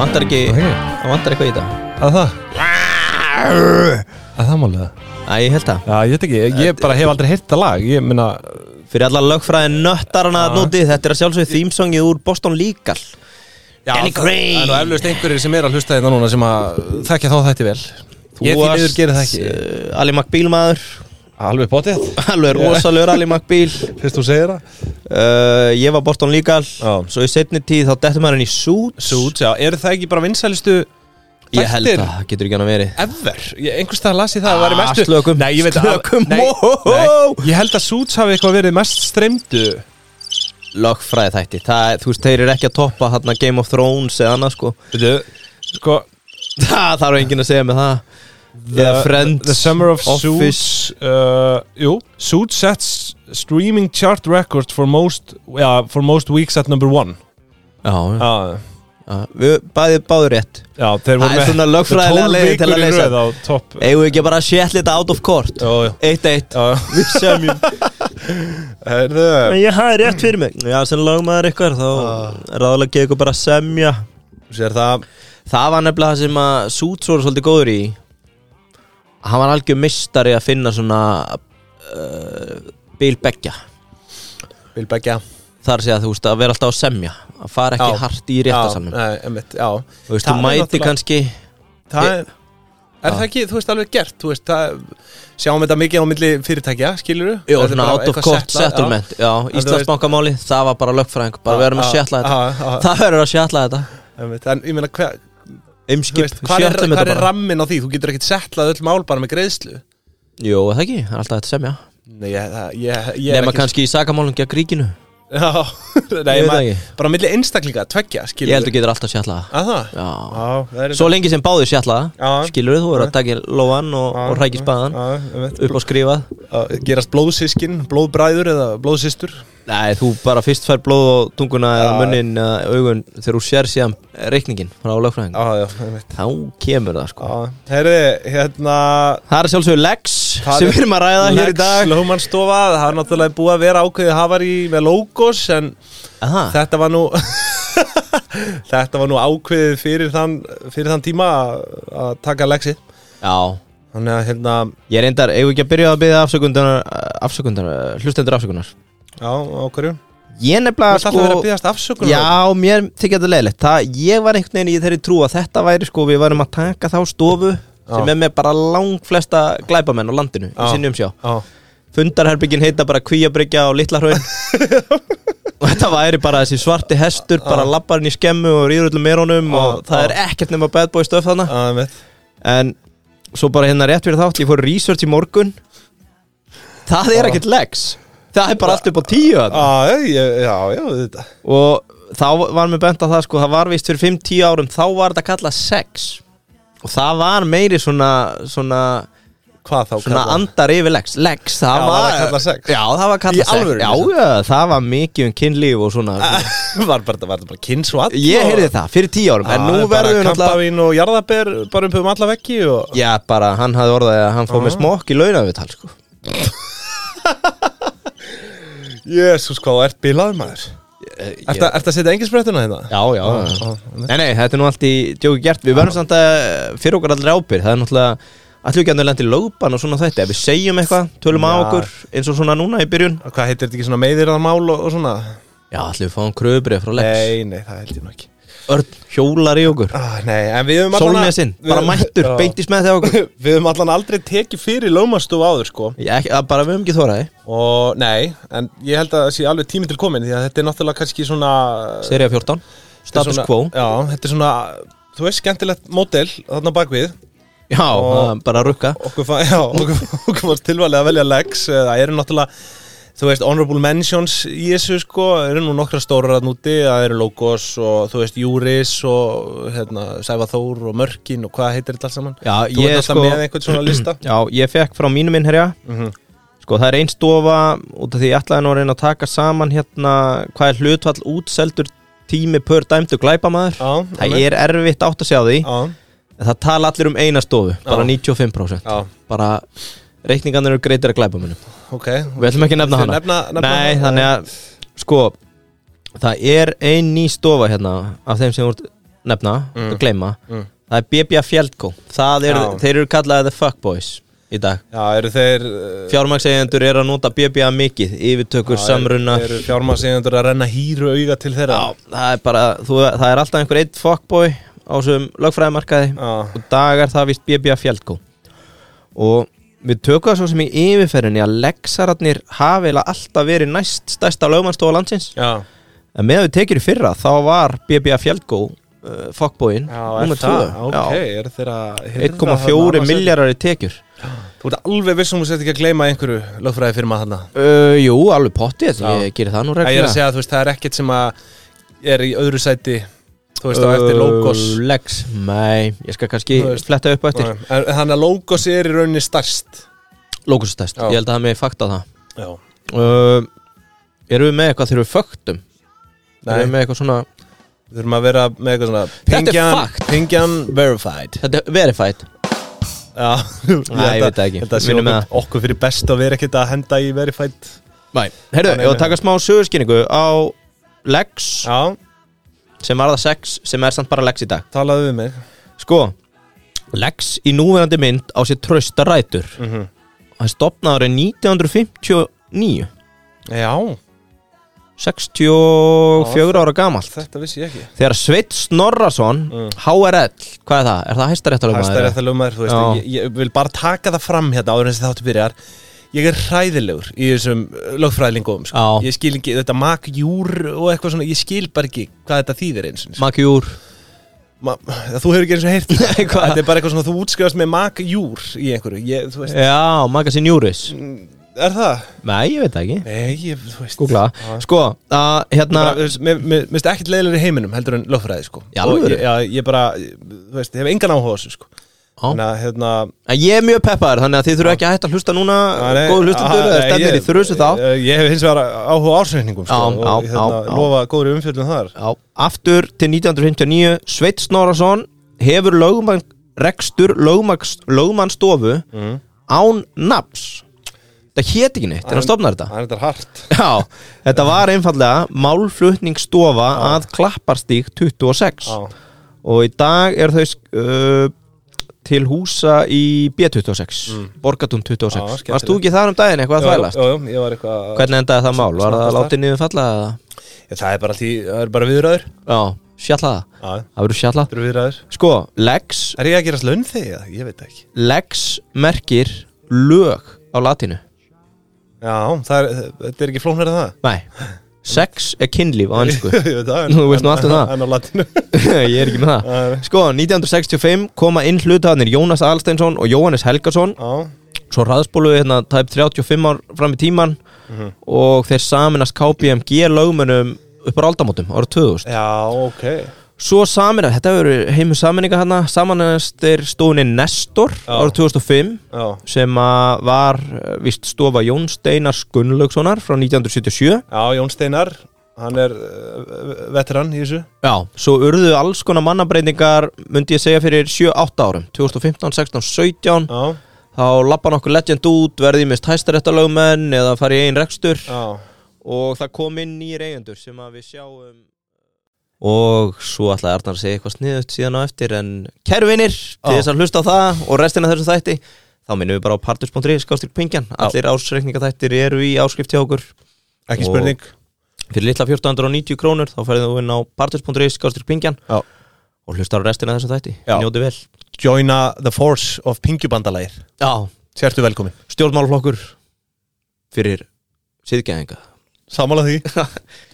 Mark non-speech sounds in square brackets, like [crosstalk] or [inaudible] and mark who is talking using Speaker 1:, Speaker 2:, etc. Speaker 1: vantar ekki
Speaker 2: Ok.
Speaker 1: Það vantar eitthvað í þetta
Speaker 2: Að það Að það málega
Speaker 1: Æ, ég held það
Speaker 2: Já, ég veit ekki, ég bara hef aldrei heyrt það lag Ég meina,
Speaker 1: Fyrir alla lögfræðin nöttarana að núti Þetta er að sjálfsögðu þýmsongið úr Boston Legal
Speaker 2: já,
Speaker 1: Danny
Speaker 2: það
Speaker 1: Gray.
Speaker 2: það er nú eflaust einhverjir sem er að hlusta þetta núna sem að þekkja þá þetta vel Ég því miður gerir það ekki
Speaker 1: uh, Ali McBeal maður [laughs]
Speaker 2: Alveg potið,
Speaker 1: Alveg rosalegur Ali McBeal
Speaker 2: fyrst þú segir það
Speaker 1: uh, Ég var Boston Legal
Speaker 2: Já.
Speaker 1: Svo í setni tíð þá dettum maður inn í Suits
Speaker 2: Suits, já, eru það ekki bara vinsælistu
Speaker 1: Ég held
Speaker 2: þættir?
Speaker 1: það, það getur ekki hann að verið
Speaker 2: ever ég, einhvers það las ég það að það væri
Speaker 1: Ah,
Speaker 2: mestu
Speaker 1: slökum,
Speaker 2: nei, ég veit að-
Speaker 1: slökum,
Speaker 2: nei,
Speaker 1: wow.
Speaker 2: nei, ég held að Suits hafi eitthvað verið mest streymdu
Speaker 1: Lögfræði þætti, það, þú veist, þeir eru ekki að toppa Hanna Game of Thrones eða annað sko [laughs]
Speaker 2: veitu sko
Speaker 1: Það þarf enginn að segja með það Eða Friends,
Speaker 2: the summer of
Speaker 1: Office.
Speaker 2: Suits uh, jú Suits sets streaming chart record for most yeah, for most weeks at number one
Speaker 1: Já, já,
Speaker 2: já
Speaker 1: já Við bæði báður rétt
Speaker 2: já þeir
Speaker 1: Það
Speaker 2: voru
Speaker 1: er svona lögfræðilega leiðin til að
Speaker 2: leiðin
Speaker 1: leysa.
Speaker 2: á topp
Speaker 1: Eigum við ekki bara að sjætt lita out of court
Speaker 2: já já
Speaker 1: Eitt
Speaker 2: [laughs]
Speaker 1: eitt
Speaker 2: já
Speaker 1: Við semjum
Speaker 2: herðu
Speaker 1: Ég hafi rétt fyrir mig Já, sem lagmaður ykkar Þá
Speaker 2: Ah.
Speaker 1: er það alveg ekki eitthvað bara að semja
Speaker 2: sér það
Speaker 1: Það var nefnilega það sem að Suits voru svolítið góður í Hann var algjör mistari að finna svona uh, Bill Beggja
Speaker 2: vil begja
Speaker 1: Þar sé að þú veist að vera alltaf að semja Að fara ekki
Speaker 2: Já.
Speaker 1: hart í réttasalnum
Speaker 2: já
Speaker 1: Þú veist,
Speaker 2: Það
Speaker 1: þú
Speaker 2: er
Speaker 1: mæti
Speaker 2: náttúrulega-
Speaker 1: kannski
Speaker 2: það
Speaker 1: Ég-
Speaker 2: er, er það ekki, þú veist, alveg gert þú veist, það, sjáum þetta mikið á milli fyrirtækja, skilur
Speaker 1: Jó, svona out of court settlement Já,
Speaker 2: þú
Speaker 1: Íslandsbankamáli, það var bara lögfræðing Bara við erum að sjætla þetta
Speaker 2: þetta
Speaker 1: Það verður að sjætla þetta
Speaker 2: en ég meina, hva, þú
Speaker 1: Umskip,
Speaker 2: veist, hvað er,
Speaker 1: sjætlum þetta
Speaker 2: hvar er
Speaker 1: bara
Speaker 2: rammin á því þú getur ekkert settlað öll mál bara með greiðslu
Speaker 1: Jó, er það ekki, það er alltaf þetta semja
Speaker 2: Nei, ég, það- ég, ég er
Speaker 1: Nefna
Speaker 2: ekki
Speaker 1: kannski í sakamálum gegn ríkinu
Speaker 2: [laughs] já, nei,
Speaker 1: Ég veit
Speaker 2: ma,
Speaker 1: ekki.
Speaker 2: bara á milli einstaklinga, tveggja,
Speaker 1: Ég
Speaker 2: skilur
Speaker 1: held að getur alltaf sjætla það
Speaker 2: að það
Speaker 1: Já
Speaker 2: Já, það er
Speaker 1: Svo lengi sem báðir sjætla
Speaker 2: Já.
Speaker 1: það Skilur þú, eru að taka í lóan og, og rækja spaðan
Speaker 2: Já, ég veit.
Speaker 1: Upp á skrifað
Speaker 2: Að Gerast blóðsískin, blóðbræður eða blóðsýstur
Speaker 1: Nei, þú bara fyrst fær blóð á tunguna eða
Speaker 2: Já.
Speaker 1: munnin eða augun þegar þú sér síðan reikningin frá lögfræðing
Speaker 2: Já, já, ég veit
Speaker 1: Þá kemur það sko
Speaker 2: Herri, hérna
Speaker 1: Það er sjálfsögur Lex
Speaker 2: Það
Speaker 1: sem
Speaker 2: er-
Speaker 1: við erum að ræða hér í dag
Speaker 2: Lómanstofa, það er náttúrulega búið að vera ákveðið hafar í með logos en
Speaker 1: Aha.
Speaker 2: þetta var nú [laughs] þetta var nú ákveðið fyrir þann, fyrir þann tíma að- að taka leksi
Speaker 1: Já,
Speaker 2: þannig að hérna
Speaker 1: ég reyndar, eigum við ekki að byrja að byrja afsökundunar, afsökundunar, hlustendur afsökunar
Speaker 2: já, á hverju Þú
Speaker 1: Ég nefnilega sko,
Speaker 2: ert alltaf verið að byggast afsökunar
Speaker 1: Já, mér þykja þetta leiðilegt Það, ég var einhvern veginn í þeirri trú að þetta væri sko Við værum að taka þá stofu sem
Speaker 2: Já.
Speaker 1: er með bara langflesta glæpamenn á landinu í
Speaker 2: Já.
Speaker 1: sinni umsjá
Speaker 2: Já,
Speaker 1: Fundarherbyggin heita bara kvíabryggja og litla
Speaker 2: [laughs]
Speaker 1: hraun og þetta væri bara þessi svarti hestur bara labbarinn í skemmu og rýður öllum merónum
Speaker 2: Já,
Speaker 1: og það
Speaker 2: já.
Speaker 1: er ekkert nema bad boy stöf þarna
Speaker 2: að veit
Speaker 1: En svo bara hérna rétt fyrir þátt Ég fór í research í morgun Það er ekkert legs Það er bara allt upp á tíu þarna.
Speaker 2: Já, ég- já, já, þetta
Speaker 1: Og þá var mér bent að það sko Það var vist fyrir 5-10 árum Þá var þetta kallað sex Og það var meiri svona Svona,
Speaker 2: Hvað þá
Speaker 1: svona
Speaker 2: kallað?
Speaker 1: andar yfir legs Legs, það
Speaker 2: Já,
Speaker 1: var
Speaker 2: var það kallað sex?
Speaker 1: Já, það var kallað
Speaker 2: Í alvöru,
Speaker 1: sex
Speaker 2: Lisa?
Speaker 1: Já, já, það var mikið um kynlíf og svona
Speaker 2: Ah, [laughs] Var bara, var þetta bara kynns og all
Speaker 1: Ég heyrði það fyrir 10 árum En nú verðum við náttúrulega
Speaker 2: Kampavín og jarðaber bara um pöfum alla veggi og
Speaker 1: Já, bara hann hafði orðað að hann fóð
Speaker 2: Ah.
Speaker 1: með smokk í launavital sko.
Speaker 2: Jésús, hvað þú ert bilaður maður Ert að- ert að setja engin spretuna hérna?
Speaker 1: Já, já, já.
Speaker 2: já,
Speaker 1: Nei, nei, þetta er nú allt í djóki gert Við verðum samt að fyrir okkar allra ábyrð Það er náttúrulega allir ekki að lendi lögban og svona þetta Ef við segjum eitthvað, tölum á
Speaker 2: Já.
Speaker 1: okkur eins og svona núna í byrjun
Speaker 2: Hvað heitir þetta ekki svona meðirðarmál og, og svona?
Speaker 1: Já, allir við fáum kröfubrið frá Lex
Speaker 2: Nei, nei, það held ég nú ekki
Speaker 1: Örn hjólar í okkur
Speaker 2: ah, Nei, en við höfum
Speaker 1: Sólnesinn,
Speaker 2: við-
Speaker 1: bara mættur,
Speaker 2: Já.
Speaker 1: beintis með
Speaker 2: [laughs]
Speaker 1: þegar okkur
Speaker 2: Við höfum allan aldrei tekið fyrir lögmanstofu áður sko
Speaker 1: Já, ekki, að bara við höfum ekki þóraði
Speaker 2: Og nei, en ég held að það sé alveg tími til komin Því að þetta er náttúrulega kannski svona þetta
Speaker 1: Serja 14,
Speaker 2: er
Speaker 1: status
Speaker 2: svona-
Speaker 1: quo
Speaker 2: Já, þetta er svona, þú veist, skemmtilegt módel Þarna bakvið
Speaker 1: Já, það er bara að rukka
Speaker 2: Okkur, fa [laughs] já, okkur, okkur var tilvalið að velja Lex Eh, Það eru náttúrulega, þú veist, honorable mentions í þessu sko Það eru nú nokkra stórar að núti Það eru Logos og, þú veist, Júris og, hérna, Sæfa Þór og Mörkin og hvað heitir þetta alls saman
Speaker 1: Já,
Speaker 2: Þú
Speaker 1: ég
Speaker 2: ert alltaf
Speaker 1: sko
Speaker 2: með einhvern svona
Speaker 1: [clears throat]
Speaker 2: lista
Speaker 1: Já, ég fekk frá mínum innherja
Speaker 2: Mhm.
Speaker 1: Sko það er einn stofa út af því ég ætlaði nú að reyna að taka saman hérna hvað er hlutfall útseldur tími pör dæmdu glæpamaður
Speaker 2: Já,
Speaker 1: Það er erfitt átt að sjá því
Speaker 2: Já,
Speaker 1: en það tala allir um eina stofu, bara 95%
Speaker 2: já,
Speaker 1: bara reikningarnir eru greitir að glæpamönnum
Speaker 2: ok
Speaker 1: Við ætlum ekki að nefna
Speaker 2: Þau
Speaker 1: hana
Speaker 2: nefna, nefna
Speaker 1: Nei, þannig að sko það er ein ný stofa hérna af þeim sem úr nefna mm. gleyma,
Speaker 2: Mm.
Speaker 1: það er BB Fjaldko það er,
Speaker 2: Já.
Speaker 1: þeir eru kallaðið The Fuckboys í dag
Speaker 2: Já, eru þeir uh,
Speaker 1: fjármagsegjendur eru að nota BB mikið yfirtökur,
Speaker 2: já,
Speaker 1: samruna
Speaker 2: Eru, eru fjármagnseigjendur að renna hýru auga til þeirra
Speaker 1: Já, það er bara, þú, það er alltaf einhver eitt fuckboy á þessum lögfræðimarkaði
Speaker 2: Já.
Speaker 1: og dagar það vist BB Fjaldko og við tökum það svo sem í yfirferðinni að leksararnir hafi eiginlega alltaf verið næst stærsta lögmannstofa landsins
Speaker 2: Já,
Speaker 1: en með að við tekir í fyrra þá var BB Fjaldko uh, fuckboyin
Speaker 2: já er það, ok, eru þeir að hirða þarna
Speaker 1: 1,4
Speaker 2: annars-
Speaker 1: miljardar í tekjur
Speaker 2: Þú ert alveg vissum þú sett ekki að gleyma einhverju lögfræði fyrir maður þarna
Speaker 1: uh, Jú, alveg pottið,
Speaker 2: Já.
Speaker 1: ég gerir það nú
Speaker 2: Ég er
Speaker 1: reglulega
Speaker 2: að segja að þú veist, það er ekkert sem að er í öðru sæti Þú veist, á eftir logos
Speaker 1: Uh, Lex, nei, ég skal kannski
Speaker 2: Þú veist.
Speaker 1: fletta upp á eftir
Speaker 2: En- en Þannig að logos er í rauninni starst
Speaker 1: Lókustest,
Speaker 2: Já.
Speaker 1: ég held að það með fakta það
Speaker 2: Já
Speaker 1: uh, Erum við með eitthvað þegar við fögtum? Erum við
Speaker 2: Nei,
Speaker 1: með eitthvað svona
Speaker 2: við þurfum að vera með eitthvað svona
Speaker 1: Þetta er
Speaker 2: Pingjan-
Speaker 1: fakt.
Speaker 2: Pingjan verified
Speaker 1: Þetta er verified
Speaker 2: Já,
Speaker 1: Nei, ég veit það ekki.
Speaker 2: Þetta sé
Speaker 1: Minnum
Speaker 2: okkur,
Speaker 1: með
Speaker 2: okkur fyrir best að vera ekkert að henda í verified
Speaker 1: Nei, heyrðu,
Speaker 2: Þannig
Speaker 1: ég var
Speaker 2: með-
Speaker 1: að taka smá sögurskynningu á Lex
Speaker 2: Já,
Speaker 1: sem var það sex sem er samt bara Lex í dag
Speaker 2: talaðu við mig
Speaker 1: Sko, Lex í núverandi mynd á sér trösta rætur
Speaker 2: mm -hmm.
Speaker 1: Það stopnaður er 1959
Speaker 2: Já,
Speaker 1: 64 ára gamalt
Speaker 2: þetta vissi ég ekki
Speaker 1: Þegar Sveit Snorrason
Speaker 2: Mm.
Speaker 1: HRL, hvað er það? Er það hæstaréttalögmaður?
Speaker 2: Hæsta rétt að lögmaður, þú veist,
Speaker 1: Já.
Speaker 2: ég, ég vil bara taka það fram hérna áður en þessi þáttu byrjar Ég er hræðilegur í þessum lögfræðlingum sko.
Speaker 1: Já.
Speaker 2: Ég skil ekki, þetta makjúr og eitthvað svona, ég skil bara ekki hvað þetta þýðir eins og eins.
Speaker 1: Makjúr
Speaker 2: Ma, Þú hefur ekki eins og heyrt [laughs] þetta.
Speaker 1: Nei, hvað?
Speaker 2: Þetta er bara eitthvað svona, þú útskrifast með makjúr í einhverju ég, þú veist,
Speaker 1: Já, Magazine Juris
Speaker 2: Er það?
Speaker 1: Nei, ég veit það ekki
Speaker 2: Mm. Nei, ég, þú veist
Speaker 1: Googla
Speaker 2: Já.
Speaker 1: Sko, að hérna
Speaker 2: bara, þú veist, mér, mér, mér finnst ekkert leiðilegur í heiminum heldur en lögfræði sko
Speaker 1: Í
Speaker 2: Og
Speaker 1: alvöru?
Speaker 2: ég, já, ég bara, þú veist, ég hef engan áhuga á þessu sko
Speaker 1: Já.
Speaker 2: Þannig að hérna
Speaker 1: En ég er mjög peppaður Þannig að þið þurfa ekki að hætta að hlusta núna
Speaker 2: nei,
Speaker 1: Góðu hlustandur
Speaker 2: aha,
Speaker 1: Það
Speaker 2: nei,
Speaker 1: stefnir
Speaker 2: ég-
Speaker 1: í þrjusu þá
Speaker 2: eh, Ég hef hins vegar áhuga á ársreikningum sko,
Speaker 1: Já,
Speaker 2: og
Speaker 1: já,
Speaker 2: hérna,
Speaker 1: já, já.
Speaker 2: lofa góðri umfjöldum þar
Speaker 1: Já, aftur til 1959 Sveit Snorason hefur lögumann Rekstur lögumannstofu
Speaker 2: mm.
Speaker 1: Án nafns Það hét ekki neitt En hann stofnar þetta
Speaker 2: Það er þetta hart
Speaker 1: Já, þetta var einfallega Málflutningsstofa að Klapparstík 26
Speaker 2: Já,
Speaker 1: og í dag er þau sk- uh, til húsa í B26 Borgatún
Speaker 2: Mm.
Speaker 1: 26
Speaker 2: Já, skemmtilegt.
Speaker 1: Varst þú ekki þar um daginn eitthvað að
Speaker 2: Jú,
Speaker 1: þvælast?
Speaker 2: jú, jú, ég var eitthvað
Speaker 1: Hvernig endaði það mál? Var það
Speaker 2: Snappast
Speaker 1: látið niður falla eða?
Speaker 2: Ég, Það er bara allt í, það er bara viðræður
Speaker 1: Já,
Speaker 2: Já,
Speaker 1: sjalla það
Speaker 2: það
Speaker 1: Það verður sjalla
Speaker 2: eru viðræður
Speaker 1: Sko, Lex,
Speaker 2: Er ég að gerast laun þegar? Ég veit það ekki
Speaker 1: Lex merkir lög á latinu
Speaker 2: Já, það er, þetta er ekki flóknar en það
Speaker 1: Nei, sex er kynlíf á ennsku
Speaker 2: [laughs] Ég veit það en-
Speaker 1: Þú veist nú
Speaker 2: en-
Speaker 1: allt um það.
Speaker 2: En á latinu
Speaker 1: Ég er ekki með það
Speaker 2: Já,
Speaker 1: Sko, 1965 koma inn hlutaðnir Jónas Alsteinsson og Jóhannes Helgason
Speaker 2: [laughs] já.
Speaker 1: svo raðspóluðu hérna tæp 35 ár fram í tíman og þeir saminast KPMG lögmönum upp á aldamótum ára 2000
Speaker 2: Já, ok
Speaker 1: svo saminast, þetta eru heimur saminninga hérna samanast er stofunni Nestor
Speaker 2: Já.
Speaker 1: ára 2005
Speaker 2: Já,
Speaker 1: sem að var eh, víst stofa Jón Steinars Gunnlaugssonar frá 1977
Speaker 2: já Jón Steinar Hann er uh, veteran í þessu
Speaker 1: Já, svo urðu alls konar mannabreiningar myndi ég segja fyrir 7-8 árum 2015, 16, 17
Speaker 2: Já,
Speaker 1: þá lappa nokkur legend út verði mist hæstaréttalögmenn eða fari í einn rekstur
Speaker 2: já
Speaker 1: og það kom inn nýjir eigendur sem að við sjáum og svo ætlaði Arnar að segja eitthvað sniðut síðan á eftir en kæru vinnir, til
Speaker 2: Já.
Speaker 1: þess að hlusta á það og restina af þessum þætti þá minnum við bara á partus.ri skástir pingjan, allir ásreikninga þættir eru í áskrift hjá okkur
Speaker 2: Ekki
Speaker 1: Og-
Speaker 2: spurning
Speaker 1: fyrir litla 1490 krónur þá færið þú inn á partus.ri skástir pingjan
Speaker 2: Já.
Speaker 1: og hlusta á restina af þessum þætti,
Speaker 2: Já.
Speaker 1: njóti vel
Speaker 2: Joina the force of pingjubandalægir
Speaker 1: Já,
Speaker 2: Sértu velkomin
Speaker 1: stjórnmálflokkur fyrir síðgæðinga
Speaker 2: Samála því